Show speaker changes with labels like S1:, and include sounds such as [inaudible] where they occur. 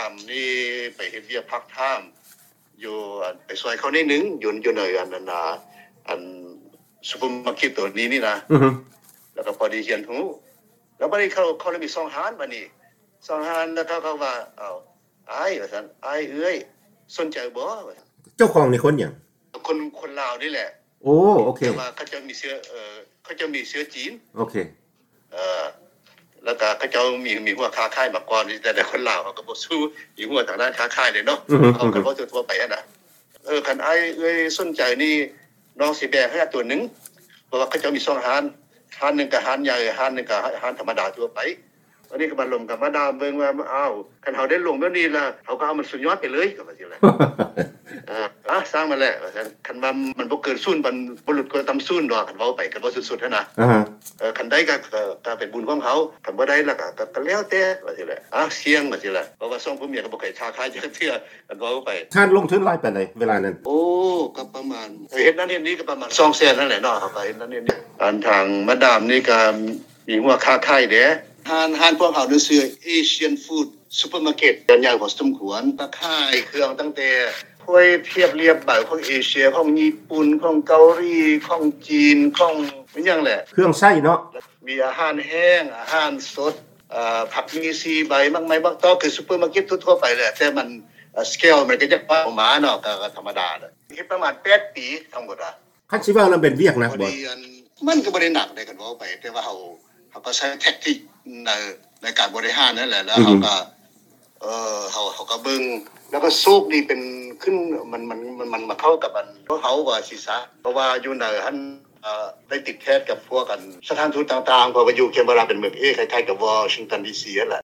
S1: ามนี่ไปเฮ็ดเวียกพักท่ามอยู่อันไปซอยเขานิดนึงอยู่อยู่หน่อยอันนั้นน่ะอันซุปเปอร์มาร์เก็ตตัวนี้นี่นะ
S2: อือฮึ
S1: แล้วก็พอดีเขียนหูแล้วบัดนี้เขาเขาเลยมีซองฮานบัดนี้ซองฮานแล้วเขาเขาว่าเอาไอ้ายว่าซั่นไอ้ายเอ้ยสนใจบ่ว่าซั่น
S2: เจ้าของในคนอย่าง
S1: คนคนลาวนี่แหละ
S2: โอ้โอเค
S1: แต่ว่าเขาจะมีเสื้อเออเขาจะมีเสื้อจีน
S2: โอเค
S1: เออแล้วก็เขาเจ้ามีมีหัวค้าค่ายมาก่อนแต่แต่คนลาวเขาก็บ่สู้มีหัวทางด้านค้าค่ายเลยเนาะ
S2: อือฮึ
S1: เอากันว่าทั่วๆไปอะนะเออคันไอ้ายเอ้ยสนใจนี่น้องสิแบกให้ตัวหนึงเพราะว่าเขาเจ้ามีสองหานหานหนึงกับหานใหญ่หานหนึงกับหานธรรมดาทั่วไปวันนี้ก็มาลงกับมาดามเบิ่งว่าอ้าวคันเฮาได้ลงแบบนี้ล่ะเขาก็เอามันสุดยอดไปเลยก็ว่าสิแหละเอออ่ะสร้างมันแหละว่าซั่นคันว่ามันบ่เกินซุนมันบ่หลุดก็ตำซุนดอกคันเว้าไปก็บ่สุดๆหันนะ
S2: [laughs] อ่าฮะ
S1: เอ่อคันได้ก็ก็ก็เป็นบุญของเขาคันบ่ได้ล่ะก็ก็ก็แล้วแต่ว่าสิแหละอ้าวเสียงว่าสิแหละเพราะว่าส่งผู้เมียก็บ่เคยชาคายจักเทื่อ [laughs] กันว่าไป
S2: ท่านลงทุนหลายไปไหนใดเวลานั้น
S1: โอ้ก็ประมาณเห็นนั้นเห็นนี้ก็ประมาณ2แสนนั่นแหละเนาะครับเห็นนั้นเห็นนี้อันทางมาดามนี่ก็มีหัวค้าขายเด้ห้านห้านพวกเขานี่ชื่อ Asian Food Supermarket กันยาวพอสมควรก็ขายเครื่องตั้งแต่ถ้วยเพียบเรียบบ่ายของเอเชียของญี่ปุ่นของเกาหลีของจีนของอิหยังแหละ
S2: เครื่องไส้เนาะ
S1: มีอาหารแห้ง อาหารสดเอ่อผักมีซีใบมากไม้บางต้อคือซูเปอร์มาร์เก็ตทั่วๆไปแหละ แต่มันสเกลมันก็จะป้าหมาเนาะก็ก็ธรรมดาเนาะคิดประมาณ 8 ปีทั้งหมดอ่ะ
S2: คันสิว่าเราเป็นเวียกหนัก
S1: พอ
S2: บ่
S1: ดีอันมันก็บ่ได้หนักได้กันว่าไป แต่ว่าเฮาเฮาก็ใช้แท็กติกในในการบริหารนั่นแหละแล้วเฮาก็เออเฮาเฮาก็เบิ่งแล้วก็สูบนี่เป็นขึ้นมันมันมันมันมาเข้ากับมันเพราะเฮาว่าสิซะเพราะว่าอยู่ในหันเอ่อได้ติดแทสกับพวกกันสถานทูตต่างๆเพราะว่าอยู่เคมบราเป็นเมืองเอคล้ายๆกับวอชิงตันดีซีนั่นแหละ